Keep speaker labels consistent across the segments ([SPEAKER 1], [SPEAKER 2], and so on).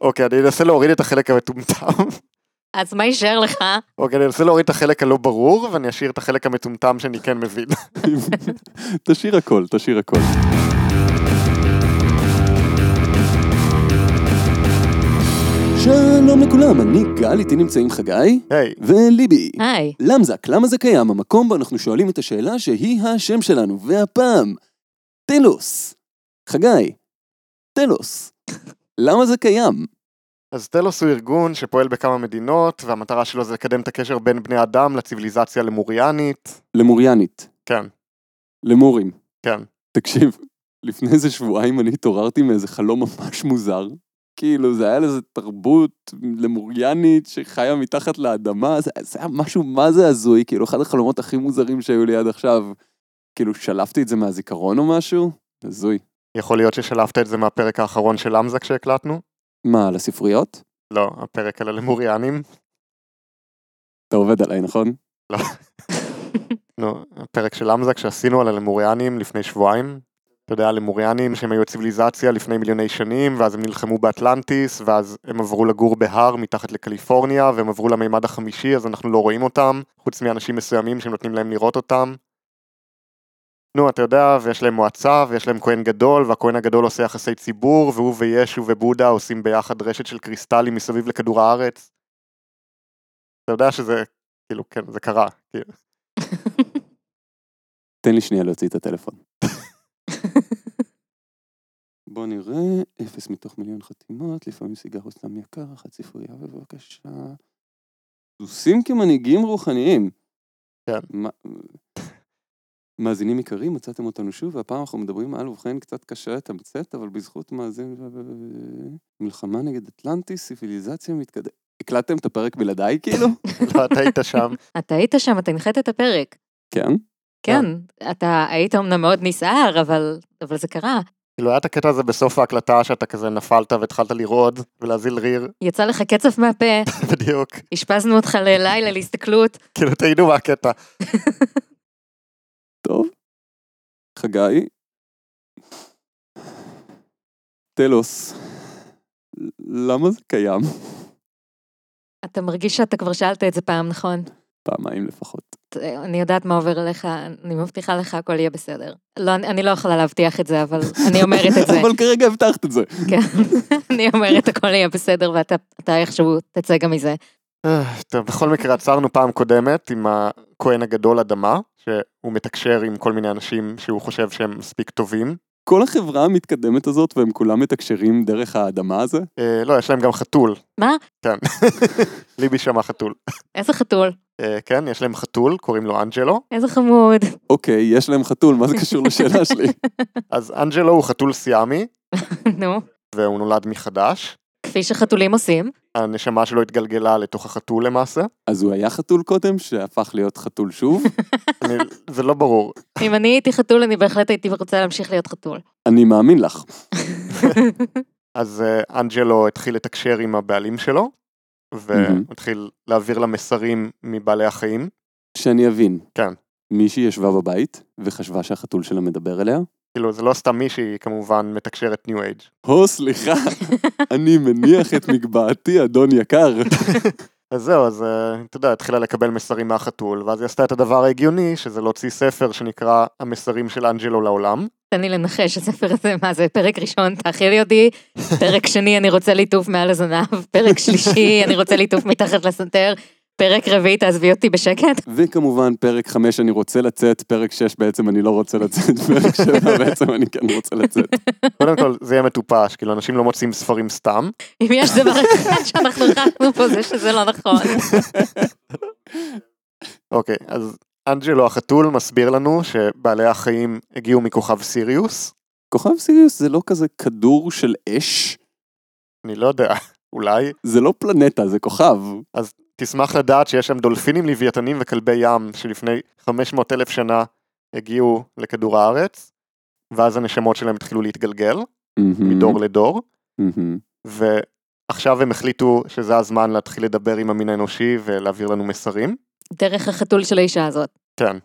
[SPEAKER 1] אוקיי, אני אנסה להוריד את החלק המטומטם.
[SPEAKER 2] אז מה יישאר לך?
[SPEAKER 1] אוקיי, אני אנסה להוריד את החלק הלא ברור, ואני אשאיר את החלק המטומטם שאני כן מבין.
[SPEAKER 3] תשאיר הכל, תשאיר הכל. שלום לכולם, אני גל, איתי נמצאים חגי
[SPEAKER 1] היי,
[SPEAKER 3] וליבי.
[SPEAKER 2] היי.
[SPEAKER 3] למזק, למה זה קיים? המקום בו אנחנו שואלים את השאלה שהיא השם שלנו, והפעם, טלוס. חגי, טלוס. למה זה קיים?
[SPEAKER 1] אז טלוס הוא ארגון שפועל בכמה מדינות, והמטרה שלו זה לקדם את הקשר בין בני אדם לציוויליזציה למוריאנית.
[SPEAKER 3] למוריאנית,
[SPEAKER 1] כן,
[SPEAKER 3] למורים.
[SPEAKER 1] כן.
[SPEAKER 3] תקשיב, לפני איזה שבועיים אני התעוררתי מאיזה חלום ממש מוזר. כאילו, זה היה איזה תרבות למוריאנית שחיה מתחת לאדמה, זה, זה היה משהו מה זה הזוי, כאילו, אחד החלומות הכי מוזרים שהיו לי עד עכשיו. כאילו, שלפתי את זה מהזיכרון או משהו? הזוי.
[SPEAKER 1] יכול להיות ששלפת את זה מהפרק האחרון של אמזק שהקלטנו?
[SPEAKER 3] מה, על הספריות?
[SPEAKER 1] לא, הפרק על הלמוריאנים.
[SPEAKER 3] אתה עובד עליי, נכון?
[SPEAKER 1] נו, הפרק של אמזק שעשינו על הלמוריאנים לפני שבועיים. אתה יודע, הלמוריאנים שהם היו ציוויליזציה לפני מיליוני שנים, ואז הם נלחמו באטלנטיס, ואז הם עברו לגור בהר מתחת לקליפורניה, והם עברו למימד החמישי, אז אנחנו לא רואים אותם, חוץ מאנשים מסוימים שנותנים להם לראות אותם. נו, אתה יודע, ויש להם מועצה, ויש להם כהן גדול, והכהן הגדול עושה יחסי ציבור, והוא וישו ובודה עושים ביחד רשת של קריסטלים מסביב לכדור הארץ. אתה יודע שזה, כאילו, כן, זה קרה, כאילו.
[SPEAKER 3] תן לי שנייה להוציא את הטלפון. בוא נראה, אפס מתוך מיליון חתימות, לפעמים סיגר הוא סתם יקר, אחת ספרייה בבקשה. סוסים כמנהיגים רוחניים.
[SPEAKER 1] כן.
[SPEAKER 3] מה- מאזינים יקרים, מצאתם אותנו שוב, והפעם אנחנו מדברים על ובכן קצת קשה לתמצת, אבל בזכות מאזין... מלחמה נגד אטלנטיס, סיביליזציה מתקדמת. הקלטתם את הפרק בלעדיי כאילו?
[SPEAKER 1] לא, אתה היית שם.
[SPEAKER 2] אתה היית שם, אתה הנחית את הפרק.
[SPEAKER 3] כן.
[SPEAKER 2] כן, אתה היית אמנם מאוד נסער, אבל אבל זה קרה.
[SPEAKER 1] כאילו היה את הקטע הזה בסוף ההקלטה שאתה כזה נפלת והתחלת לרעוד ולהזיל ריר,
[SPEAKER 2] יצא לך קצף מהפה,
[SPEAKER 1] בדיוק.
[SPEAKER 2] אשפזנו אותך ללילה להסתכלות.
[SPEAKER 1] כאילו תהינו מה הקטע.
[SPEAKER 3] טוב. חגי. טלוס. למה זה קיים?
[SPEAKER 2] אתה מרגיש שאתה כבר שאלת את זה פעם, נכון?
[SPEAKER 3] פעמיים לפחות.
[SPEAKER 2] אני יודעת מה עובר עליך, אני מבטיחה לך, הכל יהיה בסדר. לא, אני אני לא יכולה להבטיח את זה, אבל אני אומרת את זה.
[SPEAKER 3] אבל כרגע הבטחת את זה.
[SPEAKER 2] כן, אני אומרת, הכל יהיה בסדר, ואתה אתה איכשהו תצא גם מזה.
[SPEAKER 1] אה, טוב, בכל מקרה עצרנו פעם קודמת עם הכהן הגדול אדמה, שהוא מתקשר עם כל מיני אנשים שהוא חושב שהם מספיק טובים.
[SPEAKER 3] כל החברה המתקדמת הזאת והם כולם מתקשרים דרך האדמה הזה?
[SPEAKER 1] אה, לא, יש להם גם חתול.
[SPEAKER 2] מה?
[SPEAKER 1] כן. ליבי שמע חתול.
[SPEAKER 2] איזה חתול,
[SPEAKER 1] אה, כן, יש להם חתול, קוראים לו אנג'לו.
[SPEAKER 2] איזה חמוד.
[SPEAKER 3] אוקיי, יש להם חתול, מה זה קשור לשאלה שלי?
[SPEAKER 1] אז אנג'לו הוא חתול סיאמי,
[SPEAKER 2] נו,
[SPEAKER 1] והוא נולד מחדש.
[SPEAKER 2] כפי שחתולים עושים.
[SPEAKER 1] הנשמה שלו התגלגלה לתוך החתול למעשה.
[SPEAKER 3] אז הוא היה חתול קודם, שהפך להיות חתול שוב?
[SPEAKER 1] אני, זה לא ברור.
[SPEAKER 2] אם אני הייתי חתול, אני בהחלט הייתי רוצה להמשיך להיות חתול.
[SPEAKER 3] אני מאמין לך.
[SPEAKER 1] אז אה, אנג'לו התחיל לתקשר עם הבעלים שלו, והתחיל להעביר לה מסרים מבעלי החיים.
[SPEAKER 3] שאני אבין.
[SPEAKER 1] כן.
[SPEAKER 3] מישהי ישבה בבית וחשבה שהחתול שלה מדבר אליה?
[SPEAKER 1] כאילו זה לא סתם מישהי, היא כמובן מתקשרת ניו אייג'.
[SPEAKER 3] הו, סליחה, אני מניח את מגבעתי, אדון יקר.
[SPEAKER 1] אז זהו, אז אה, אתה יודע, התחילה לקבל מסרים מהחתול, ואז היא עשתה את הדבר ההגיוני, שזה להוציא ספר שנקרא המסרים של אנג'לו לעולם.
[SPEAKER 2] תן לי לנחש, הספר הזה, מה זה, פרק ראשון, תאכילי אותי, פרק שני, אני רוצה ליטוף מעל הזנב, פרק שלישי, אני רוצה ליטוף מתחת לסנטר, פרק רביעי, תעזבי אותי בשקט.
[SPEAKER 3] וכמובן, פרק 5 אני רוצה לצאת, פרק 6 בעצם אני לא רוצה לצאת, פרק 7 בעצם אני כן רוצה לצאת.
[SPEAKER 1] קודם כל, זה יהיה מטופש, כאילו אנשים לא מוצאים ספרים סתם.
[SPEAKER 2] אם יש דבר אחד שאנחנו החלטנו פה, זה שזה לא נכון.
[SPEAKER 1] אוקיי, אז אנג'לו החתול מסביר לנו שבעלי החיים הגיעו מכוכב סיריוס.
[SPEAKER 3] כוכב סיריוס זה לא כזה כדור של אש,
[SPEAKER 1] אני לא יודע, אולי.
[SPEAKER 3] זה לא פלנטה, זה כוכב.
[SPEAKER 1] תשמח לדעת שיש שם דולפינים, לוויתנים וכלבי ים שלפני 500 אלף שנה הגיעו לכדור הארץ, ואז הנשמות שלהם התחילו להתגלגל
[SPEAKER 3] Mm-hmm.
[SPEAKER 1] מדור לדור,
[SPEAKER 3] מהמם.
[SPEAKER 1] ועכשיו הם החליטו שזה הזמן להתחיל לדבר עם המין האנושי ולהעביר לנו מסרים.
[SPEAKER 2] דרך החתול של האישה הזאת.
[SPEAKER 1] כן.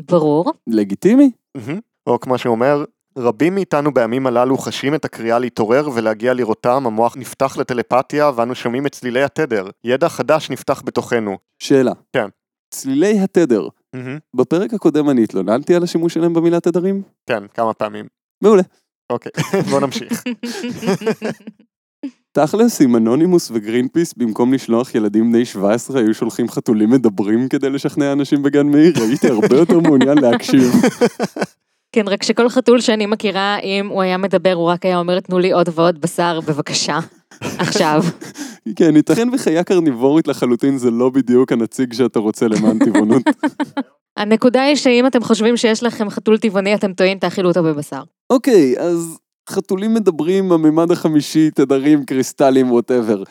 [SPEAKER 2] ברור.
[SPEAKER 3] לגיטימי?
[SPEAKER 1] מהמם. Mm-hmm. או כמו שהוא אומר, רבים מאיתנו בימים הללו חשים את הקריאה להתעורר ולהגיע לראותם, המוח נפתח לטלפתיה ואנו שומעים את צלילי התדר. ידע חדש נפתח בתוכנו.
[SPEAKER 3] שאלה.
[SPEAKER 1] כן.
[SPEAKER 3] צלילי התדר. בפרק הקודם אני התלוננתי על השימוש שלהם במילה תדרים?
[SPEAKER 1] כן, כמה פעמים.
[SPEAKER 3] מעולה.
[SPEAKER 1] אוקיי, בוא נמשיך.
[SPEAKER 3] תכלס, אם אנונימוס וגרינפיס, במקום לשלוח ילדים בני 17, היו שולחים חתולים מדברים כדי לשכנע אנשים בגן מאיר, הייתי הרבה יותר מעוניין להקשיב.
[SPEAKER 2] כן, רק שכל חתול שאני מכירה, אם הוא היה מדבר, הוא רק היה אומר, תנו לי עוד ועוד בשר, בבקשה. עכשיו.
[SPEAKER 3] כן, ייתכן וחיה קרניבורית לחלוטין זה לא בדיוק הנציג שאתה רוצה למען טבעונות.
[SPEAKER 2] הנקודה היא שאם אתם חושבים שיש לכם חתול טבעוני, אתם טועים, תאכילו אותו בבשר.
[SPEAKER 3] אוקיי, אז חתולים מדברים, הממד החמישי, תדרים, קריסטלים, וואטאבר.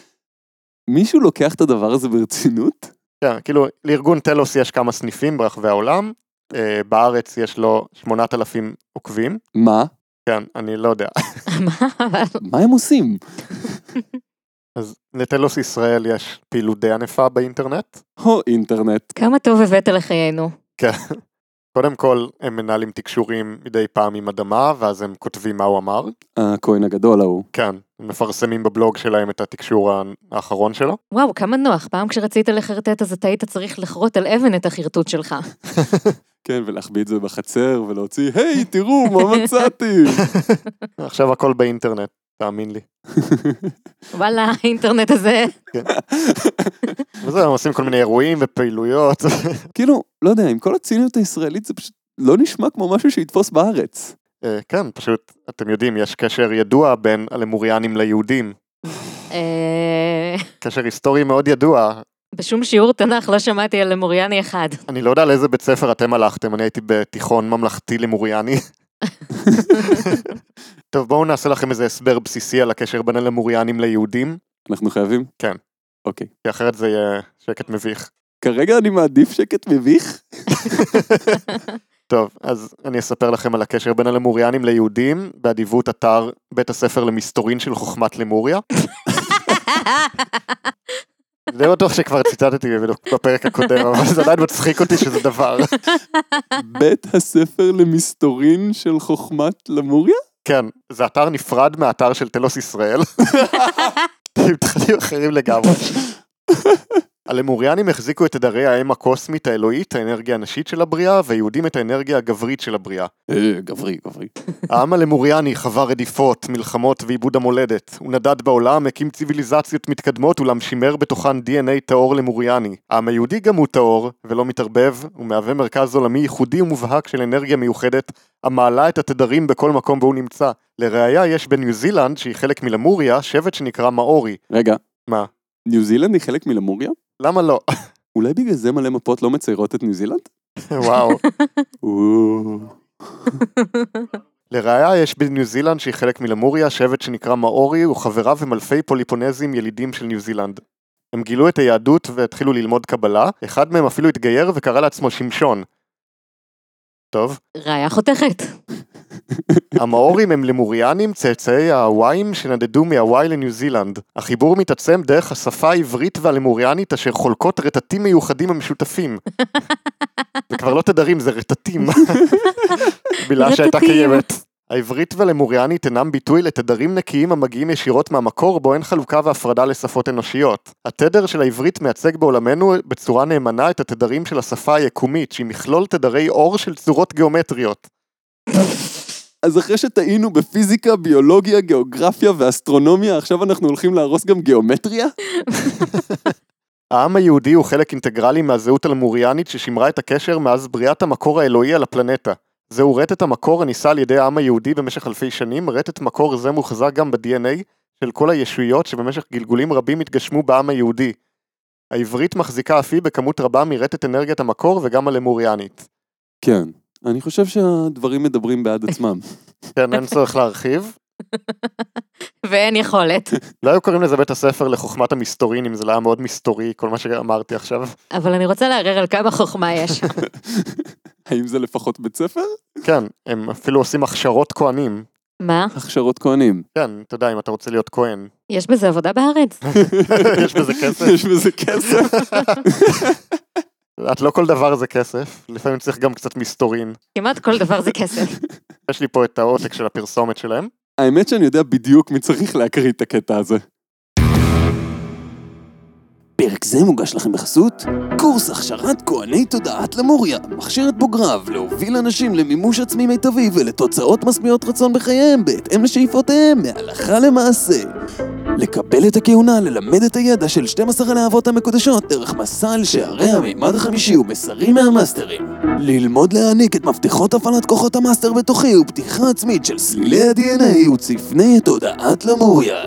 [SPEAKER 3] מישהו לוקח את הדבר הזה ברצינות?
[SPEAKER 1] כן, כאילו, לארגון טלוס יש כמה סניפים ברחבי העולם, אה, בארץ יש לו 8,000 עוקבים,
[SPEAKER 3] מה?
[SPEAKER 1] כן, אני לא יודע.
[SPEAKER 2] מה? אבל-
[SPEAKER 3] מה הם עושים?
[SPEAKER 1] אז לטלוס ישראל יש פעילות די ענפה באינטרנט.
[SPEAKER 3] הו אינטרנט.
[SPEAKER 2] כמה טוב הבאת לחיינו.
[SPEAKER 1] קודם כל, הם מנהלים תקשורים מדי פעם עם אדמה, ואז הם כותבים מה הוא אמר.
[SPEAKER 3] הכהן הגדול ההוא.
[SPEAKER 1] כן, הם מפרסמים בבלוג שלהם את התקשור האחרון שלו.
[SPEAKER 2] וואו, כמה נוח. פעם כשרצית לחרטט, אז אתה היית צריך לכרות על אבן את החרטוט שלך.
[SPEAKER 3] כן, ולהחביא את זה בחצר, ולהוציא, היי, תראו, מה מצאתי!
[SPEAKER 1] עכשיו הכל באינטרנט, תאמין לי.
[SPEAKER 2] וואלה, האינטרנט הזה.
[SPEAKER 1] וזהו, הם עושים כל מיני אירועים ופעילויות.
[SPEAKER 3] כאילו, לא יודע, עם כל הציניות הישראלית זה פשוט לא נשמע כמו משהו שיתפוס בארץ.
[SPEAKER 1] אה, כן, פשוט, אתם יודעים, יש קשר ידוע בין הלמוריאנים ליהודים.
[SPEAKER 2] אה,
[SPEAKER 1] קשר היסטורי מאוד ידוע.
[SPEAKER 2] בשום שיעור תנ"ך לא שמעתי על מוריאני אחד.
[SPEAKER 1] אני לא יודע לאיזה בית ספר אתם הלכתם, אני הייתי בתיכון ממלכתי למוריאני. טוב, בואו נעשה לכם איזה הסבר בסיסי על הקשר בין הלמוריאנים ליהודים,
[SPEAKER 3] אנחנו חייבים?
[SPEAKER 1] כן.
[SPEAKER 3] אוקיי.
[SPEAKER 1] כי אחרת זה יהיה שקט מביך.
[SPEAKER 3] כרגע אני מעדיף שקט מביך?
[SPEAKER 1] טוב, אז אני אספר לכם על הקשר בין הלמוריאנים ליהודים, באדיבות אתר בית הספר למסתורין של חוכמת למוריה. אני די בטוח שכבר ציטטתי בפרק הקודם, אבל זה עדיין מצחיק אותי שזה דבר.
[SPEAKER 3] בית הספר למסתורין של חוכמת למוריה?
[SPEAKER 1] כן, זה אתר נפרד מהאתר של תלוס ישראל. עם תכנים אחרים לגמרי. הלמוריאנים החזיקו את תדרי האם הקוסמית האלוהית, האנרגיה הנשית של הבריאה, והיהודים את האנרגיה הגברית של הבריאה.
[SPEAKER 3] אה, גברי, גברי.
[SPEAKER 1] העם הלמוריאני חווה רדיפות, מלחמות ועיבוד המולדת. הוא נדד בעולם, הקים ציוויליזציות מתקדמות, אולם שימר בתוכן DNA טהור למוריאני. העם היהודי גם הוא טהור, ולא מתערבב, ומהווה מרכז עולמי ייחודי ומובהק של אנרגיה מיוחדת, המעלה את התדרים בכל מקום בו הוא נמצא. לראיה, יש בניו זילנד, שהיא חלק מלמוריה, שבט שנקרא מאורי.
[SPEAKER 3] רגע.
[SPEAKER 1] מה?
[SPEAKER 3] ניו זילנד היא חלק מלמוריה?
[SPEAKER 1] למה לא?
[SPEAKER 3] אולי בגלל זה מלא מפות לא מציירות את ניו זילנד?
[SPEAKER 1] וואו.
[SPEAKER 3] או,
[SPEAKER 1] לראיה, יש בניו זילנד שהיא חלק מלמוריה, שבט שנקרא מאורי, וחבריו הם אלפי פוליפונזים ילידים של ניו זילנד. הם גילו את היהדות והתחילו ללמוד קבלה, אחד מהם אפילו התגייר וקרא לעצמו שמשון. טוב,
[SPEAKER 2] ראיה חותכת.
[SPEAKER 1] המאורים הם למוריאנים, צאצאי ההואים שנדדו מהוואי לניו זילנד. החיבור מתעצם דרך השפה העברית והלמוריאנית אשר חולקות רטטים מיוחדים המשותפים. זה כבר לא תדרים, זה רטטים. מילה שהייתה
[SPEAKER 2] רטטים.
[SPEAKER 1] קיימת. העברית והלמוריאנית אינם ביטוי לתדרים נקיים המגיעים ישירות מהמקור בו אין חלוקה והפרדה לשפות אנושיות. התדר של העברית מייצג בעולמנו בצורה נאמנה את התדרים של השפה היקומית, שהיא מכלול תדרי אור של צורות גיאומטריות.
[SPEAKER 3] אז אחרי שטעינו בפיזיקה, ביולוגיה, גיאוגרפיה ואסטרונומיה, עכשיו אנחנו הולכים להרוס גם גיאומטריה?
[SPEAKER 1] העם היהודי הוא חלק אינטגרלי מהזהות הלמוריאנית ששימרה את הקשר מאז בריאת המקור האלוהי על הפלנטה. זהו רטט המקור הנישא על ידי העם היהודי במשך אלפי שנים, רטט מקור זה מוחזק גם ב-DNA של כל הישויות שבמשך גלגולים רבים התגשמו בעם היהודי. העברית מחזיקה אף היא בכמות רבה מרטט אנרגיית המקור וגם הלמוריאנית.
[SPEAKER 3] כן. אני חושב שהדברים מדברים בעד עצמם.
[SPEAKER 1] כן, אין צורך להרחיב.
[SPEAKER 2] ואין יכולת.
[SPEAKER 1] לא היו קוראים לזה בית הספר לחוכמת המסתורין אם זה לא היה מאוד מסתורי, כל מה שאמרתי עכשיו.
[SPEAKER 2] אבל אני רוצה לערער על כמה חוכמה יש.
[SPEAKER 3] האם זה לפחות בית ספר?
[SPEAKER 1] כן, הם אפילו עושים הכשרות כהנים.
[SPEAKER 2] מה?
[SPEAKER 3] הכשרות כהנים.
[SPEAKER 1] כן, אתה יודע, אם אתה רוצה להיות כהן.
[SPEAKER 2] יש בזה עבודה בארץ?
[SPEAKER 1] יש בזה כסף?
[SPEAKER 3] יש בזה כסף.
[SPEAKER 1] את לא כל דבר זה כסף, לפעמים צריך גם קצת מסתורין.
[SPEAKER 2] כמעט כל דבר זה כסף.
[SPEAKER 1] יש לי פה את העותק של הפרסומת שלהם.
[SPEAKER 3] האמת שאני יודע בדיוק מי צריך להקריא את הקטע הזה. פרק זה מוגש לכם בחסות קורס הכשרת כהני תודעת למוריה, מכשיר את בוגריו להוביל אנשים למימוש עצמי מיטבי ולתוצאות משביעות רצון בחייהם בהתאם לשאיפותיהם מהלכה למעשה. לקבל את הכהונה, ללמד את הידע של 12 הלהבות המקודשות דרך מסע על שערי המימד החמישי ומסרים מהמאסטרים. ללמוד להעניק את מפתחות הפעלת כוחות המאסטר בתוכי ופתיחה עצמית של סלילי ה-DNA וצפני תודעת למוריה.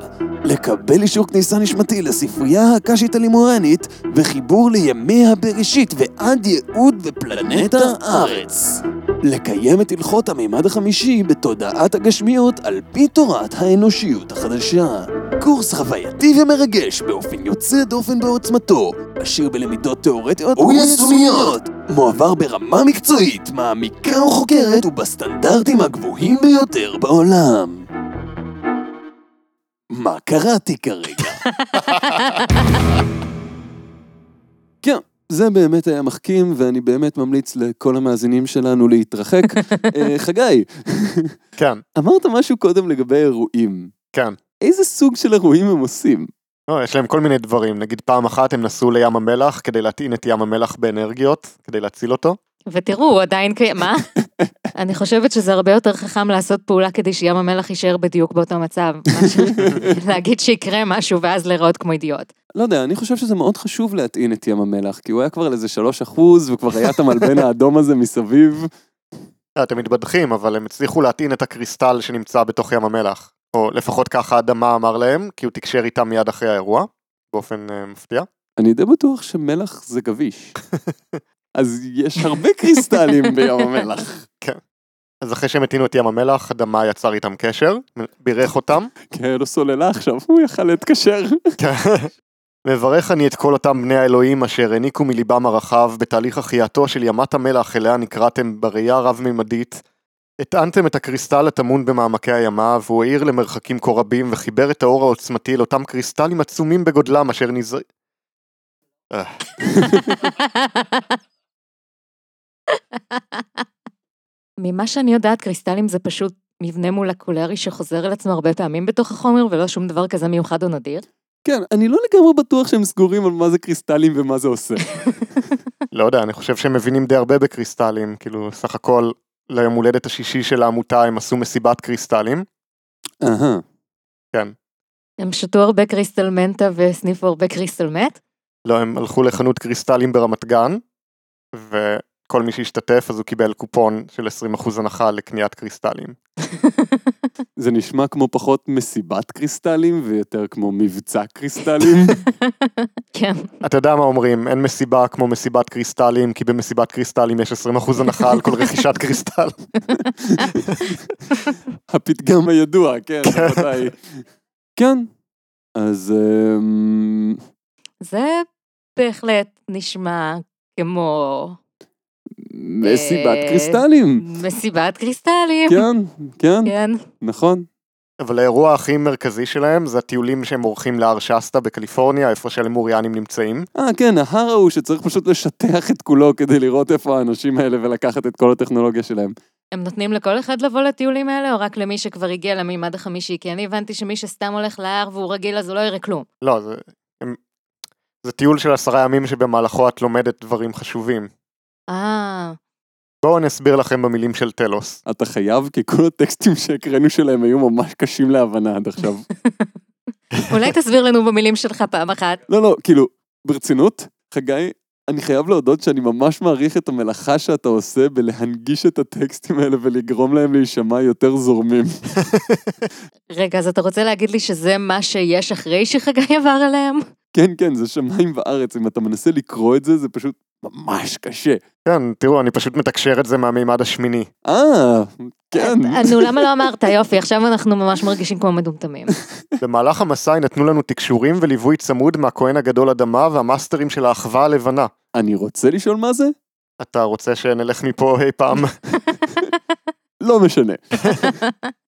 [SPEAKER 3] לקבל אישור כניסה נשמתי לספרייה הקשית הלימורנית וחיבור לימי הבראשית ועד ייעוד ופלנטה הארץ. לקיים את הלכות המימד החמישי בתודעת הגשמיות על פי תורת האנושיות החדשה. קורס חווייתי ומרגש באופן יוצא דופן בעוצמתו, עשיר בלמידות תאורטיות ויישומיות, מועבר ברמה מקצועית, מעמיקה וחוקרת ובסטנדרטים הגבוהים ביותר בעולם. מה קראתי כרגע? כן, זה באמת היה מחכים, ואני באמת ממליץ לכל המאזינים שלנו להתרחק. אה, חגי,
[SPEAKER 1] כן,
[SPEAKER 3] אמרת משהו קודם לגבי אירועים.
[SPEAKER 1] כן.
[SPEAKER 3] איזה סוג של אירועים הם עושים?
[SPEAKER 1] לא, יש להם כל מיני דברים, נגיד פעם אחת הם נסעו לים המלח כדי להטעין את ים המלח באנרגיות, כדי להציל אותו.
[SPEAKER 2] ותראו, הוא עדיין קיים, מה? אני חושבת שזה הרבה יותר חכם לעשות פעולה כדי שים המלח יישאר בדיוק באותו מצב, מאשר להגיד שיקרה משהו ואז להיראות כמו אידיוט.
[SPEAKER 3] לא יודע, אני חושב שזה מאוד חשוב להטעין את ים המלח, כי הוא היה כבר על איזה 3% וכבר היה את המלבן האדום הזה מסביב.
[SPEAKER 1] אה, אתם מתבדחים, אבל הם הצליחו להטעין את הקריסטל שנמצא בתוך ים המלח. או לפחות ככה האדמה אמר להם, כי הוא תקשר איתם מיד אחרי האירוע, באופן אה, מפתיע.
[SPEAKER 3] אני די בטוח שמלח זה גביש. אז יש הרבה קריסטלים בים המלח.
[SPEAKER 1] אז אחרי שהם הטעינו את ים המלח, אדמה יצר איתם קשר, בירך אותם.
[SPEAKER 3] כן, לא סוללה עכשיו, הוא יכל להתקשר.
[SPEAKER 1] מברך אני את כל אותם בני האלוהים אשר העניקו מליבם הרחב בתהליך החייאתו של ימת המלח אליה נקראתם בראייה רב-ממדית. הטענתם את הקריסטל הטמון במעמקי הימה, והוא האיר למרחקים כה רבים וחיבר את האור העוצמתי אל אותם קריסטלים עצומים בגודלם אשר נז... אה,
[SPEAKER 2] ממה שאני יודעת, קריסטלים זה פשוט מבנה מולקולרי שחוזר על עצמו הרבה פעמים בתוך החומר, ולא שום דבר כזה מיוחד או נדיר.
[SPEAKER 3] כן, אני לא לגמרי בטוח שהם סגורים על מה זה קריסטלים ומה זה עושה.
[SPEAKER 1] לא יודע, אני חושב שהם מבינים די הרבה בקריסטלים, כאילו סך הכל ליום הולדת השישי של העמותה הם עשו מסיבת קריסטלים.
[SPEAKER 3] אהה.
[SPEAKER 1] כן.
[SPEAKER 2] הם שתו הרבה קריסטל מנטה והסניפו הרבה קריסטל מת.
[SPEAKER 1] לא, הם הלכו לחנות קריסטלים ברמת גן, וכל מי שהשתתף אז הוא קיבל קופון של 20% הנחה לקניית קריסטלים.
[SPEAKER 3] זה נשמע כמו פחות מסיבת קריסטלים ויותר כמו מבצע קריסטלים.
[SPEAKER 2] כן.
[SPEAKER 1] אתה יודע מה אומרים, אין מסיבה כמו מסיבת קריסטלים, כי במסיבת קריסטלים יש 20% הנחה על כל רכישת קריסטל.
[SPEAKER 3] הפתגם הידוע, כן, רבותיי. כן. אז אמ,
[SPEAKER 2] זה בהחלט נשמע כמו
[SPEAKER 3] מסיבת
[SPEAKER 2] אה,
[SPEAKER 3] קריסטלים.
[SPEAKER 2] מסיבת קריסטלים.
[SPEAKER 3] כן, כן,
[SPEAKER 2] כן.
[SPEAKER 3] נכון.
[SPEAKER 1] אבל האירוע הכי מרכזי שלהם זה הטיולים שהם עורכים להר שסטה בקליפורניה, איפה שהלימוריאנים נמצאים.
[SPEAKER 3] אה, כן, ההר ההוא שצריך פשוט לשטח את כולו כדי לראות איפה האנשים האלה ולקחת את כל הטכנולוגיה שלהם.
[SPEAKER 2] הם נותנים לכל אחד לבוא לטיולים האלה, או רק למי שכבר הגיע למימד החמישי? כי אני הבנתי שמי שסתם הולך להר והוא רגיל, אז הוא לא יראה כלום.
[SPEAKER 1] לא, זה... הם... זה טיול של עשרה ימים שבמהלכו את לומדת דברים חשובים.
[SPEAKER 2] אה,
[SPEAKER 1] בואו אני אסביר לכם במילים של טלוס.
[SPEAKER 3] אתה חייב, כי כל הטקסטים שהקראנו שלהם היו ממש קשים להבנה עד עכשיו.
[SPEAKER 2] אולי תסביר לנו במילים שלך פעם אחת.
[SPEAKER 3] לא, לא, כאילו, ברצינות, חגי, אני חייב להודות שאני ממש מעריך את המלאכה שאתה עושה בלהנגיש את הטקסטים האלה ולגרום להם להישמע יותר זורמים.
[SPEAKER 2] רגע, אז אתה רוצה להגיד לי שזה מה שיש אחרי שחגי עבר עליהם?
[SPEAKER 3] כן, כן, זה שמיים וארץ, אם אתה מנסה לקרוא את זה, זה פשוט ממש קשה.
[SPEAKER 1] כן, תראו, אני פשוט מתקשר את זה מהמימד השמיני.
[SPEAKER 3] אה, כן.
[SPEAKER 2] אה, נו, למה לא אמרת? יופי, עכשיו אנחנו ממש מרגישים כמו מטומטמים.
[SPEAKER 1] במהלך המסע יינתנו לנו תקשורים וליווי צמוד מהכהן הגדול אדמה והמאסטרים של האחווה הלבנה.
[SPEAKER 3] אני רוצה לשאול מה זה?
[SPEAKER 1] אתה רוצה שנלך מפה אי פעם?
[SPEAKER 3] לא משנה.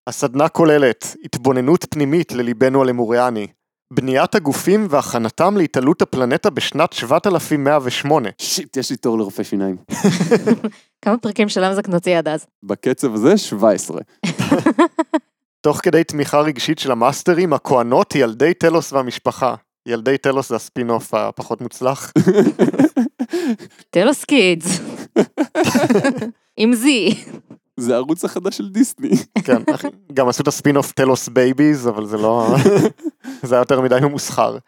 [SPEAKER 1] הסדנה כוללת התבוננות פנימית לליבנו הלמוריאני, בניית הגופים והכנתם להתעלות הפלנטה בשנת 7108.
[SPEAKER 3] שיט, יש לי תור לרופא שיניים.
[SPEAKER 2] כמה פרקים של אמזק נוציא עד אז?
[SPEAKER 3] בקצב הזה, 17.
[SPEAKER 1] תוך כדי תמיכה רגשית של המאסטרים, הכהנות, ילדי תלוס והמשפחה. ילדי תלוס זה הספין-אוף הפחות מוצלח.
[SPEAKER 2] טלוס קידס. עם זי.
[SPEAKER 3] זה הערוץ החדש של דיסני.
[SPEAKER 1] כן, אח- גם עשו את הספין-אוף תלוס בייביז, אבל זה לא... זה היה יותר מדי ממוסחר.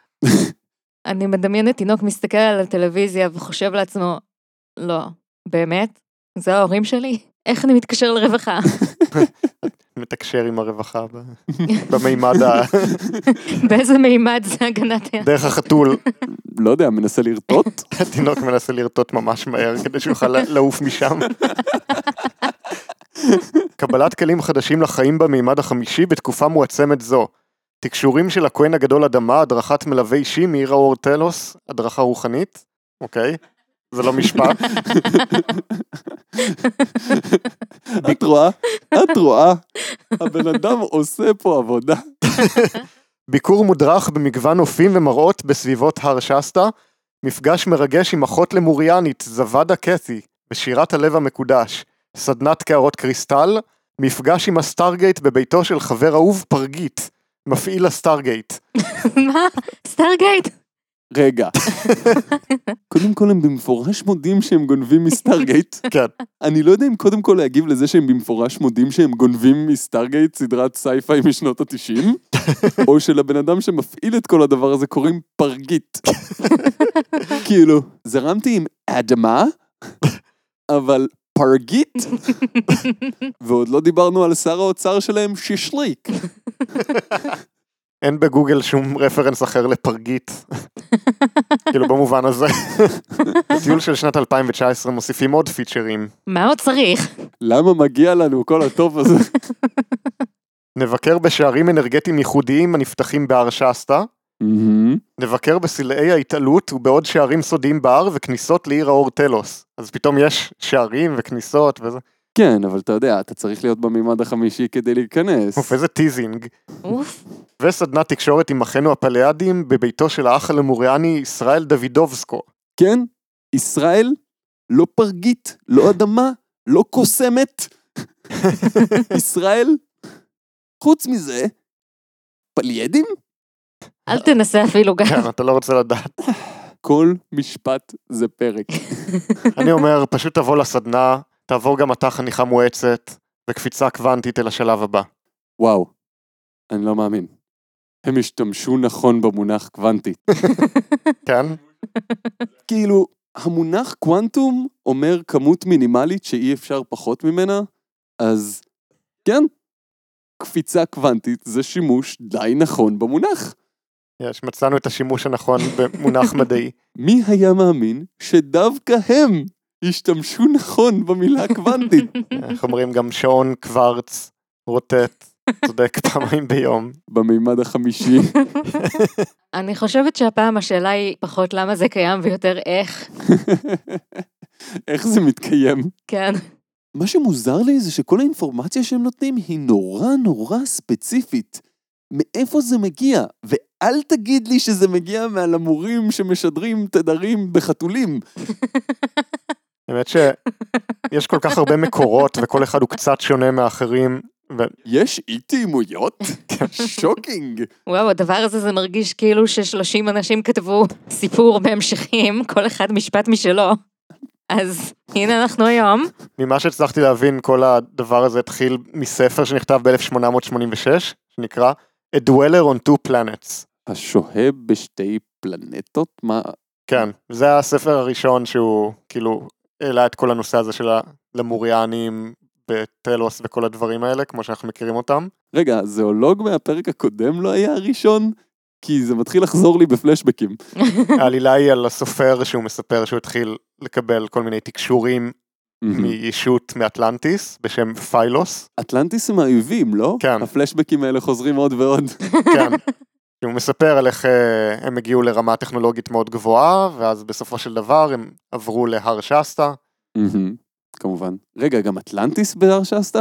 [SPEAKER 2] אני מדמיינת תינוק מסתכל על הטלוויזיה וחושב לעצמו, לא, באמת? זה ההורים שלי? איך אני מתקשר לרווחה?
[SPEAKER 1] מתקשר עם הרווחה ב- במימד ה...
[SPEAKER 2] באיזה מימד זה הגנת ה...
[SPEAKER 1] דרך החתול.
[SPEAKER 3] לא יודע, מנסה לרטוט?
[SPEAKER 1] התינוק מנסה לרטוט ממש מהר כדי שיוכל לעוף משם. קבלת כלים חדשים לחיים במימד החמישי בתקופה מועצמת זו. תקשורים של הכהן הגדול אדמה, הדרכת מלווה אישי מעיר האור תלוס, הדרכה רוחנית, אוקיי? זה לא משפט.
[SPEAKER 3] את רואה? את רואה? הבן אדם עושה פה עבודה.
[SPEAKER 1] ביקור מודרך במגוון נופים ומראות בסביבות הר שסטה, מפגש מרגש עם אחות למוריאנית, זוודה קתי, בשירת הלב המקודש, סדנת קערות קריסטל, מפגש עם הסטארגייט בביתו של חבר אהוב פרגית, מפעיל הסטארגייט.
[SPEAKER 2] מה? סטארגייט?
[SPEAKER 3] רגע. קודם כל הם במפורש מודים שהם גונבים מסטארגייט.
[SPEAKER 1] כן,
[SPEAKER 3] אני לא יודע אם קודם כל להגיב לזה שהם במפורש מודים שהם גונבים מסטארגייט סדרת סייפיי משנות התשעים, או שלבן אדם שמפעיל את כל הדבר הזה קוראים פרגית. כאילו, זרמתי עם אדמה, אבל פרגית? ועוד לא דיברנו על שר האוצר שלהם שישליק.
[SPEAKER 1] אין בגוגל שום רפרנס אחר לפרגית. כאילו במובן הזה. בטיול של שנת 2019 מוסיפים עוד פיצ'רים.
[SPEAKER 2] מה עוד צריך?
[SPEAKER 3] למה מגיע לנו כל הטוב הזה?
[SPEAKER 1] נבקר בשערים אנרגטיים ייחודיים הנפתחים בהר שסטה.
[SPEAKER 3] מהמם.
[SPEAKER 1] נבקר בסלעי ההתעלות ובעוד שערים סודיים בהר וכניסות לעיר האור תלוס. אז פתאום יש שערים וכניסות וזה.
[SPEAKER 3] כן, אבל אתה יודע, אתה צריך להיות במימד החמישי כדי להיכנס.
[SPEAKER 1] אוף, איזה טיזינג.
[SPEAKER 2] אוף.
[SPEAKER 1] וסדנת תקשורת עם אחינו הפלאדים בביתו של האח הלמוריאני ישראל דוידובסקו.
[SPEAKER 3] כן, ישראל לא פרגית, לא אדמה, לא קוסמת. ישראל, חוץ מזה, פליידים?
[SPEAKER 2] אל תנסה אפילו גם.
[SPEAKER 1] כן, אתה לא רוצה לדעת.
[SPEAKER 3] כל משפט זה פרק.
[SPEAKER 1] אני אומר, פשוט תבוא לסדנה, תעבור גם אתה חניכה מואצת, וקפיצה קוונטית אל השלב הבא.
[SPEAKER 3] וואו, אני לא מאמין. הם השתמשו נכון במונח קוונטי.
[SPEAKER 1] כן?
[SPEAKER 3] כאילו, המונח קוונטום אומר כמות מינימלית שאי אפשר פחות ממנה, אז כן, קפיצה קוונטית זה שימוש די נכון במונח.
[SPEAKER 1] יש, מצאנו את השימוש הנכון במונח מדעי.
[SPEAKER 3] מי היה מאמין שדווקא הם השתמשו נכון במילה קוונטית?
[SPEAKER 1] כן, איך אומרים, גם שעון קוורץ, רוטט, צודק פעמיים ביום.
[SPEAKER 3] במימד החמישי.
[SPEAKER 2] אני חושבת שהפעם השאלה היא פחות למה זה קיים ויותר איך.
[SPEAKER 3] איך זה מתקיים?
[SPEAKER 2] כן.
[SPEAKER 3] מה שמוזר לי זה שכל האינפורמציה שהם נותנים היא נורא נורא ספציפית. מאיפה זה מגיע? ואל תגיד לי שזה מגיע מהלמורים שמשדרים תדרים בחתולים.
[SPEAKER 1] האמת שיש כל כך הרבה מקורות וכל אחד הוא קצת שונה מאחרים. ו-
[SPEAKER 3] יש אי תאימויות? שוקינג.
[SPEAKER 2] וואו, הדבר הזה זה מרגיש כאילו ש-30 אנשים כתבו סיפור בהמשכים, כל אחד משפט משלו. אז הנה אנחנו היום.
[SPEAKER 1] ממה שהצלחתי להבין כל הדבר הזה התחיל מספר שנכתב ב-1886 שנקרא A Dweller on Two Planets.
[SPEAKER 3] השוהה בשתי פלנטות? מה?
[SPEAKER 1] כן, זה הספר הראשון שהוא כאילו העלה את כל הנושא הזה של הלמוריאנים וטלוס וכל הדברים האלה כמו שאנחנו מכירים אותם.
[SPEAKER 3] רגע, הזואולוג מהפרק הקודם לא היה הראשון? כי זה מתחיל לחזור לי בפלשבקים.
[SPEAKER 1] העלילה היא על הסופר שהוא מספר שהוא התחיל לקבל כל מיני תקשורים מישות מאטלנטיס בשם פיילוס.
[SPEAKER 3] אטלנטיס הם האויבים, לא?
[SPEAKER 1] כן.
[SPEAKER 3] הפלשבקים האלה חוזרים עוד ועוד.
[SPEAKER 1] כן. הוא מספר על איך אה, הם הגיעו לרמה טכנולוגית מאוד גבוהה, ואז בסופו של דבר הם עברו להר שסטה.
[SPEAKER 3] כמובן. רגע, גם אטלנטיס בהר שסטה?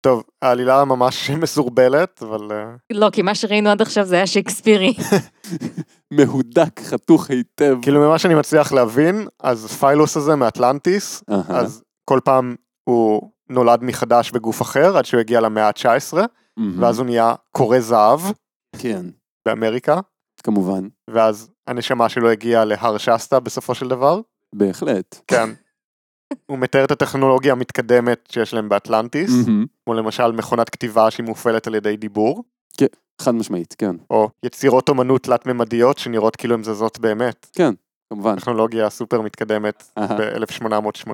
[SPEAKER 1] טוב, העלילה ממש מסורבלת, אבל אה,
[SPEAKER 2] לא, כי מה שראינו עד עכשיו זה היה שייקספירי.
[SPEAKER 3] מהודק, חתוך היטב.
[SPEAKER 1] כאילו ממה שאני מצליח להבין, אז פיילוס הזה מאטלנטיס,
[SPEAKER 3] אהה,
[SPEAKER 1] אז כל פעם הוא נולד מחדש בגוף אחר עד שהוא הגיע למאה ה-19,
[SPEAKER 3] מהמם.
[SPEAKER 1] ואז הוא נהיה קורא זהב
[SPEAKER 3] כן,
[SPEAKER 1] באמריקה,
[SPEAKER 3] כמובן,
[SPEAKER 1] ואז הנשמה שלו הגיעה להר שסטה בסופו של דבר.
[SPEAKER 3] בהחלט.
[SPEAKER 1] כן. הוא מתאר את הטכנולוגיה המתקדמת שיש להם באטלנטיס,
[SPEAKER 3] מהמם.
[SPEAKER 1] כמו למשל מכונת כתיבה שהיא מופעלת על ידי דיבור,
[SPEAKER 3] חד משמעית, כן,
[SPEAKER 1] או יצירות אומנות תלת-ממדיות שנראות כאילו הן זזות באמת,
[SPEAKER 3] כמובן.
[SPEAKER 1] טכנולוגיה סופר מתקדמת
[SPEAKER 3] אהה.
[SPEAKER 1] ב-1880.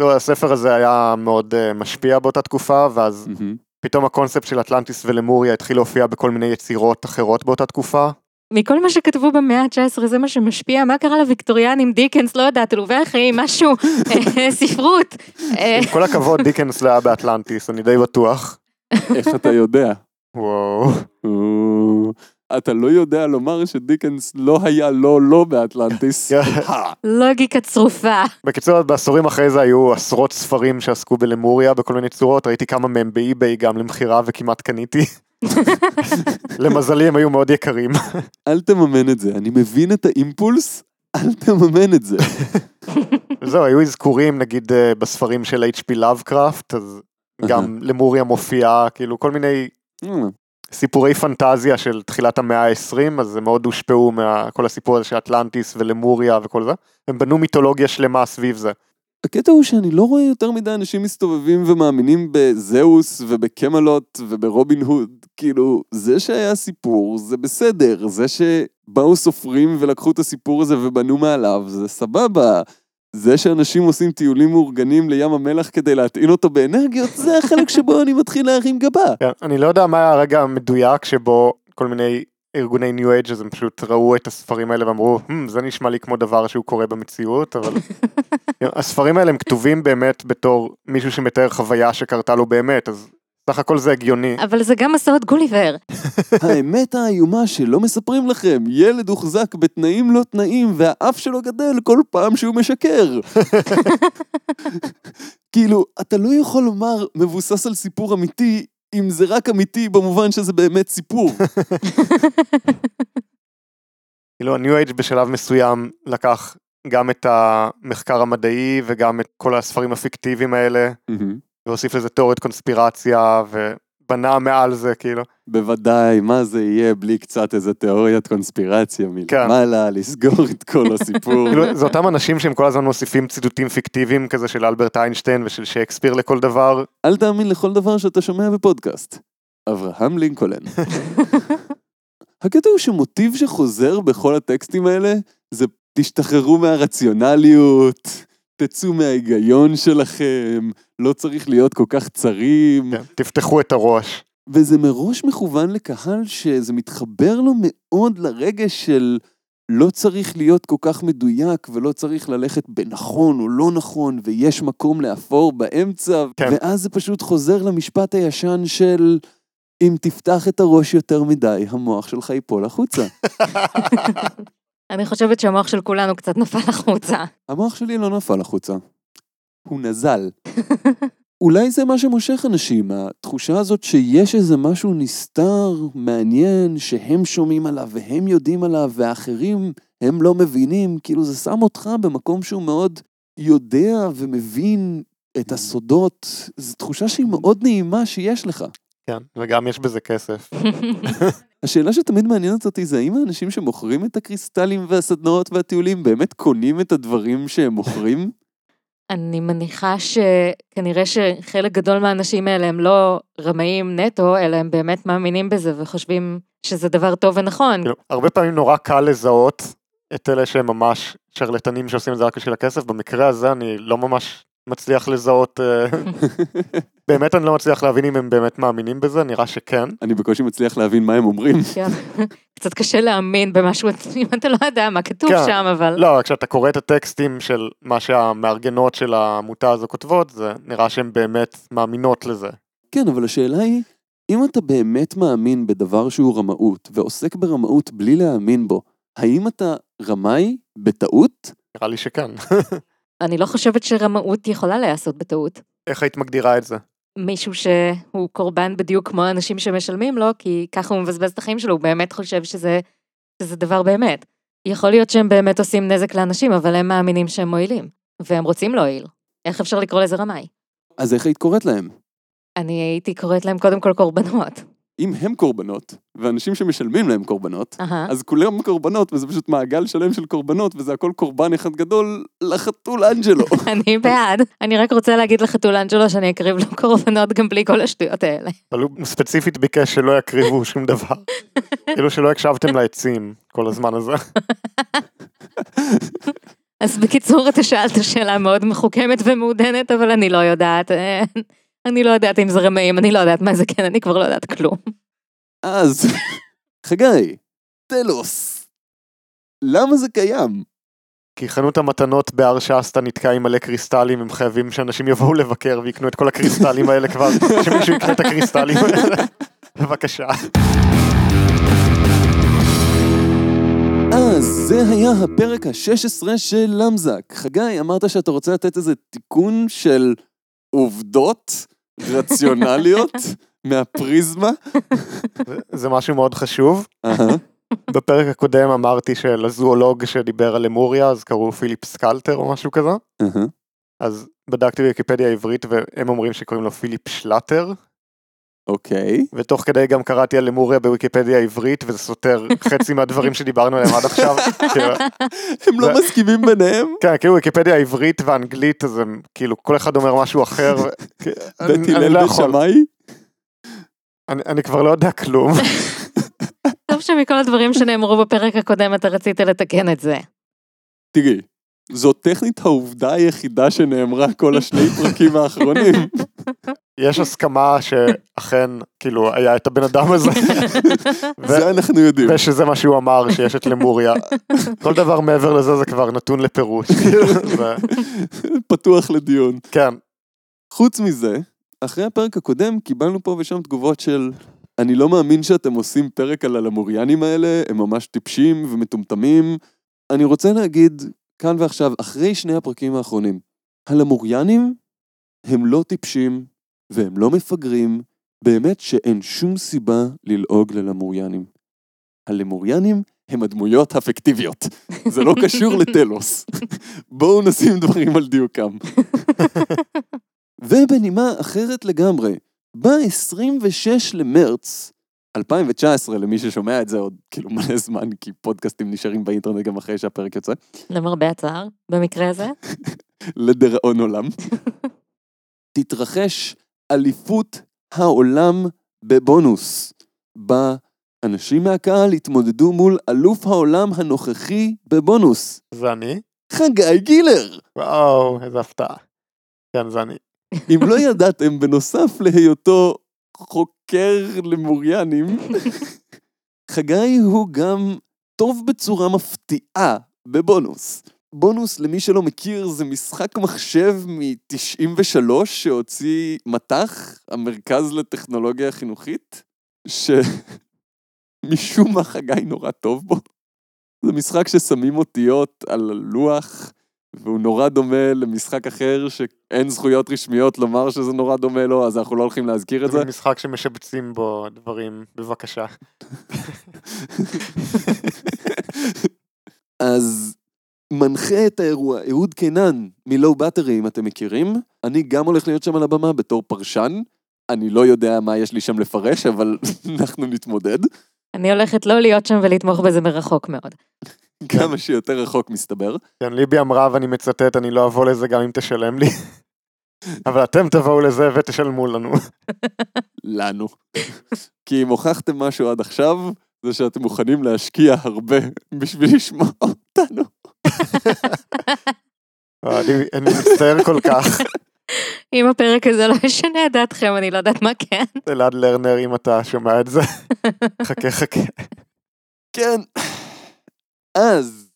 [SPEAKER 1] לא, הספר הזה היה מאוד אה, משפיע באותה תקופה, ואז
[SPEAKER 3] מהמם.
[SPEAKER 1] פתאום הקונספט של אטלנטיס ולמוריה התחיל להופיע בכל מיני יצירות אחרות באותה תקופה.
[SPEAKER 2] מכל מה שכתבו במאה ה-19 זה מה שמשפיע, מה קרה לוויקטוריאנים, דיקנס, לא יודעת, עלובי החיים, משהו, אה, ספרות. אה,
[SPEAKER 1] עם כל הכבוד, דיקנס לא היה באטלנטיס, אני די בטוח.
[SPEAKER 3] איך אתה יודע?
[SPEAKER 1] וואו.
[SPEAKER 3] או, אתה לא יודע לומר שדיקנס לא היה לא לא באטלנטיס.
[SPEAKER 1] כן.
[SPEAKER 3] אה,
[SPEAKER 2] לוגיקה לא צרופה.
[SPEAKER 1] בקיצור, בעשורים אחרי זה היו עשרות ספרים שעסקו בלמוריה בכל מיני צורות, ראיתי כמה מהם באי-ביי גם למכירה וכמעט קניתי. למזלי הם היו מאוד יקרים.
[SPEAKER 3] אל תממן את זה, אני מבין את האימפולס, אל תממן את זה.
[SPEAKER 1] זהו, היו אזכורים נגיד אה, בספרים של H.P. Lovecraft, אז גם למוריה מופיעה, כאילו כל מיני
[SPEAKER 3] אה,
[SPEAKER 1] סיפורי פנטזיה של תחילת המאה ה-20, אז הם מאוד הושפעו מכל הסיפור הזה של אטלנטיס ולמוריה וכל זה. הם בנו מיתולוגיה שלמה סביב זה.
[SPEAKER 3] הקטע הוא שאני לא רואה יותר מדי אנשים מסתובבים ומאמינים בזהוס ובקמלוט וברובין הוד. כאילו, זה שהיה סיפור זה בסדר, זה שבאו סופרים ולקחו את הסיפור הזה ובנו מעליו זה סבבה. זה שאנשים עושים טיולים מאורגנים לים המלח כדי להטעין אותו באנרגיות, זה החלק שבו אני מתחיל להרים גבה.
[SPEAKER 1] כן, אני לא יודע מה היה הרגע המדויק שבו כל מיני ארגוני ניו אייג' אז הם פשוט ראו את הספרים האלה ואמרו, "הם, זה נשמע לי כמו דבר שהוא קורה במציאות, אבל... הספרים האלה הם כתובים באמת בתור מישהו שמתאר חוויה שקרתה לו באמת, אז סך הכל זה הגיוני.
[SPEAKER 2] אבל זה גם מסעות גוליבר.
[SPEAKER 3] האמת האיומה שלא מספרים לכם, ילד הוחזק בתנאים לא תנאים והאף שלו גדל כל פעם שהוא משקר. כאילו, אתה לא יכול לומר מבוסס על סיפור אמיתי, אם זה רק אמיתי במובן שזה באמת סיפור.
[SPEAKER 1] כאילו הניו אייג' בשלב מסוים לקח גם את המחקר המדעי וגם את כל הספרים הפיקטיביים האלה, והוסיף לזה תיאוריית קונספירציה ובנה מעל זה כאילו.
[SPEAKER 3] בוודאי, מה זה יהיה בלי קצת איזה תיאוריית קונספירציה מלמעלה, לסגור את כל הסיפור.
[SPEAKER 1] כאילו זה אותם אנשים שהם כל הזמן מוסיפים ציטוטים פיקטיביים כזה של אלברט איינשטיין ושל שייקספיר לכל דבר.
[SPEAKER 3] אל תאמין לכל דבר שאתה שומע בפודקאסט. אברהם לינקולן. הקטע הוא שמוטיב שחוזר בכל הטקסטים האלה, זה תשתחררו מהרציונליות, תצאו מההיגיון שלכם, לא צריך להיות כל כך צרים,
[SPEAKER 1] כן, תפתחו את הראש.
[SPEAKER 3] וזה מראש מכוון לקהל שזה מתחבר לו מאוד לרגש של לא צריך להיות כל כך מדויק ולא צריך ללכת בנכון או לא נכון ויש מקום לאפור באמצע,
[SPEAKER 1] כן.
[SPEAKER 3] ואז זה פשוט חוזר למשפט הישן של אם תפתח את הראש יותר מדי, המוח שלך ייפול החוצה.
[SPEAKER 2] אני חושבת שהמוח של כולנו קצת נפל החוצה.
[SPEAKER 3] המוח שלי לא נפל החוצה. הוא נזל. אולי זה מה שמושך אנשים, התחושה הזאת שיש איזה משהו נסתר, מעניין, שהם שומעים עליו והם יודעים עליו, והאחרים, הם לא מבינים, כאילו זה שם אותך במקום שהוא מאוד יודע ומבין את הסודות. זו תחושה שהיא מאוד נעימה שיש לך.
[SPEAKER 1] כן, וגם יש בזה כסף.
[SPEAKER 3] השאלה שתמיד מעניינת אותי זה האם האנשים שמוכרים את הקריסטלים והסדנאות והטיולים באמת קונים את הדברים שהם מוכרים?
[SPEAKER 2] אני מניחה שכנראה שחלק גדול מהאנשים האלה הם לא רמאים נטו, אלא הם באמת מאמינים בזה וחושבים שזה דבר טוב ונכון.
[SPEAKER 1] כאילו, הרבה פעמים נורא קל לזהות את אלה שהם ממש שרלטנים שעושים את זה רק בשביל הכסף, במקרה הזה אני לא ממש מצליח לזהות, אה, באמת אני לא מצליח להבין אם הם באמת מאמינים בזה, נראה שכן.
[SPEAKER 3] אני בקושי מצליח להבין מה הם אומרים.
[SPEAKER 2] כן. קצת קשה להאמין במשהו, אם אתה לא יודע מה כתוב
[SPEAKER 1] כן.
[SPEAKER 2] שם, אבל...
[SPEAKER 1] לא, כשאתה קורא את הטקסטים של מה שהמארגנות של העמותה הזו כותבות, זה נראה שהן באמת מאמינות לזה.
[SPEAKER 3] כן, אבל השאלה היא, אם אתה באמת מאמין בדבר שהוא רמאות, ועוסק ברמאות בלי להאמין בו, האם אתה רמאי בטעות?
[SPEAKER 1] נראה לי שכן.
[SPEAKER 2] אני לא חושבת שרמאות יכולה להיעשות בטעות.
[SPEAKER 1] איך היית מגדירה את זה?
[SPEAKER 2] מישהו שהוא קורבן בדיוק כמו האנשים שמשלמים לו, כי ככה הוא מבזבז את החיים שלו, הוא באמת חושב שזה, שזה דבר באמת. יכול להיות שהם באמת עושים נזק לאנשים, אבל הם מאמינים שהם מועילים, והם רוצים להועיל. איך אפשר לקרוא לזה רמאי?
[SPEAKER 3] אז איך היית קוראת להם?
[SPEAKER 2] אני הייתי קוראת להם קודם כל קורבנות.
[SPEAKER 3] אם הם קורבנות, ואנשים שמשלמים להם קורבנות,
[SPEAKER 2] אהה.
[SPEAKER 3] אז כולם קורבנות, וזה פשוט מעגל שלם של קורבנות, וזה הכל קורבן אחד גדול לחתול אנג'לו.
[SPEAKER 2] אני בעד. אני רק רוצה להגיד לחתול אנג'לו שאני אקריב לו קורבנות גם בלי כל השטויות האלה.
[SPEAKER 1] אבל הוא ספציפית ביקש שלא יקריבו שום דבר. כאילו שלא הקשבתם לעצים כל הזמן הזה.
[SPEAKER 2] אז בקיצור, אתה שאלת שאלה מאוד מחוכמת ומעודנת, אבל אני לא יודעת. אה, אני לא יודעת אם זה רמאים, אני לא יודעת מה זה כן, אני כבר לא יודעת כלום.
[SPEAKER 3] אז, חגי, טלוס, למה זה קיים?
[SPEAKER 1] כי חנות המתנות בהר שסטה נתקע עם מלא קריסטלים, הם חייבים שאנשים יבואו לבקר ויקנו את כל הקריסטלים האלה כבר, שמישהו יקנה את הקריסטלים האלה. בבקשה.
[SPEAKER 3] אז זה היה הפרק ה-16 של למזק. חגי, אמרת שאתה רוצה לתת איזה תיקון של עובדות רציונליות מהפריזמה?
[SPEAKER 1] זה- זה משהו מאוד חשוב.
[SPEAKER 3] אהה.
[SPEAKER 1] בפרק הקודם אמרתי שלזואולוג שדיבר על למוריה, אז קראו פיליפ סקלטר או משהו כזה.
[SPEAKER 3] אהה.
[SPEAKER 1] אז בדקתי ויקיפדיה העברית והם אומרים שקוראים לו פיליפ שלאטר,
[SPEAKER 3] אוקיי.
[SPEAKER 1] ותוך כדי גם קראתי על למוריה בוויקיפדיה העברית, וזה סותר חצי מהדברים שדיברנו עליהם עד עכשיו. כאילו,
[SPEAKER 3] הם לא
[SPEAKER 1] זה-
[SPEAKER 3] מסכימים ביניהם?
[SPEAKER 1] כן, כאילו ויקיפדיה העברית והאנגלית, אז הם כאילו כל אחד אומר משהו אחר. ו- כי- אני-
[SPEAKER 3] בית
[SPEAKER 1] אני
[SPEAKER 3] הלל
[SPEAKER 1] לא
[SPEAKER 3] בית
[SPEAKER 1] יכול,
[SPEAKER 3] שמאי?
[SPEAKER 1] אני- אני כבר לא יודע כלום.
[SPEAKER 2] טוב שמכל הדברים שנאמרו בפרק הקודם אתה רצית לתקן את זה.
[SPEAKER 3] תראי, זו טכנית העובדה היחידה שנאמרה כל השני פרקים האחרונים.
[SPEAKER 1] יש הסכמה שאכן, כאילו, היה את הבן אדם הזה. ו-
[SPEAKER 3] זה אנחנו יודעים.
[SPEAKER 1] ושזה מה שהוא אמר, שיש את למוריה. כל דבר מעבר לזה זה כבר נתון לפירוש. זה-
[SPEAKER 3] פתוח לדיון.
[SPEAKER 1] כן,
[SPEAKER 3] חוץ מזה, אחרי הפרק הקודם קיבלנו פה ושם תגובות של אני לא מאמין שאתם עושים פרק על הלמוריאנים האלה, הם ממש טיפשים ומטומטמים. אני רוצה להגיד כאן ועכשיו, אחרי שני הפרקים האחרונים, הלמוריאנים הם לא טיפשים והם לא מפגרים, באמת שאין שום סיבה ללעוג ללמוריאנים. הלמוריאנים הם הדמויות הפיקטיביות, זה לא קשור לטלוס. בואו נשים דברים על דיוקם. ובנימה אחרת לגמרי, ב-26 למרץ 2019, למי ששומע את זה עוד כאילו מלא זמן, כי פודקאסטים נשארים באינטרנט גם אחרי שהפרק יוצא,
[SPEAKER 2] למרבה הצער, במקרה הזה.
[SPEAKER 3] לדיראון עולם, תתרחש אליפות העולם בבונוס, בה אנשים מהקהל יתמודדו מול אלוף העולם הנוכחי בבונוס,
[SPEAKER 1] זה אני.
[SPEAKER 3] חגי גילר.
[SPEAKER 1] וואו, איזה הפתעה. כן, זה אני.
[SPEAKER 3] אם לא ידעתם, בנוסף להיותו חוקר למוריאנים, חגי הוא גם טוב בצורה מפתיעה בבונוס. בונוס, למי שלא מכיר, זה משחק מחשב מ-93 שהוציא מט"ח, המרכז לטכנולוגיה חינוכית, שמשום מה חגי נורא טוב בו. זה משחק ששמים אותיות על לוח, והוא נורא דומה למשחק אחר שאין זכויות רשמיות לומר שזה נורא דומה לו, אז אנחנו לא הולכים להזכיר את זה.
[SPEAKER 1] זה משחק שמשבצים בו דברים, בבקשה.
[SPEAKER 3] אז מנחה את האירוע, אהוד קינן מלואו באטרי, אם אתם מכירים. אני גם הולך להיות שם על הבמה בתור פרשן. אני לא יודע מה יש לי שם לפרש, אבל אנחנו נתמודד.
[SPEAKER 2] אני הולכת לא להיות שם ולתמוך בזה מרחוק מאוד.
[SPEAKER 3] כמה שיותר רחוק מסתבר.
[SPEAKER 1] כן, ליבי אמרה, ואני מצטט, אני לא אבוא לזה גם אם תשלם לי. אבל אתם תבואו לזה ותשלמו לנו.
[SPEAKER 3] לנו. כי אם הוכחתם משהו עד עכשיו, זה שאתם מוכנים להשקיע הרבה בשביל לשמוע אותנו.
[SPEAKER 1] אני אני מצטער כל כך.
[SPEAKER 2] אם הפרק הזה לא ישנה את דעתכם, אני לא יודעת מה כן.
[SPEAKER 1] אלעד לרנר, אם אתה שומע את זה. חכה, חכה.
[SPEAKER 3] כן. אז,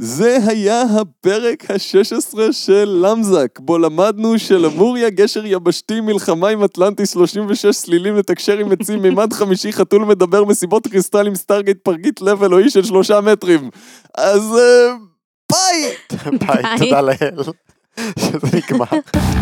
[SPEAKER 3] זה היה הפרק ה-16 של למזק, בו למדנו שלמוריה גשר יבשתי, מלחמה עם אטלנטי, 36 סלילים לתקשר עם עצים, מימד חמישי, חתול מדבר, מסיבות קריסטל עם סטארגייט, פרגית לב אלוהי של שלושה מטרים. אז אה, ביי!
[SPEAKER 1] ביי,
[SPEAKER 2] ביי.
[SPEAKER 1] תודה לאל. שזה נגמר.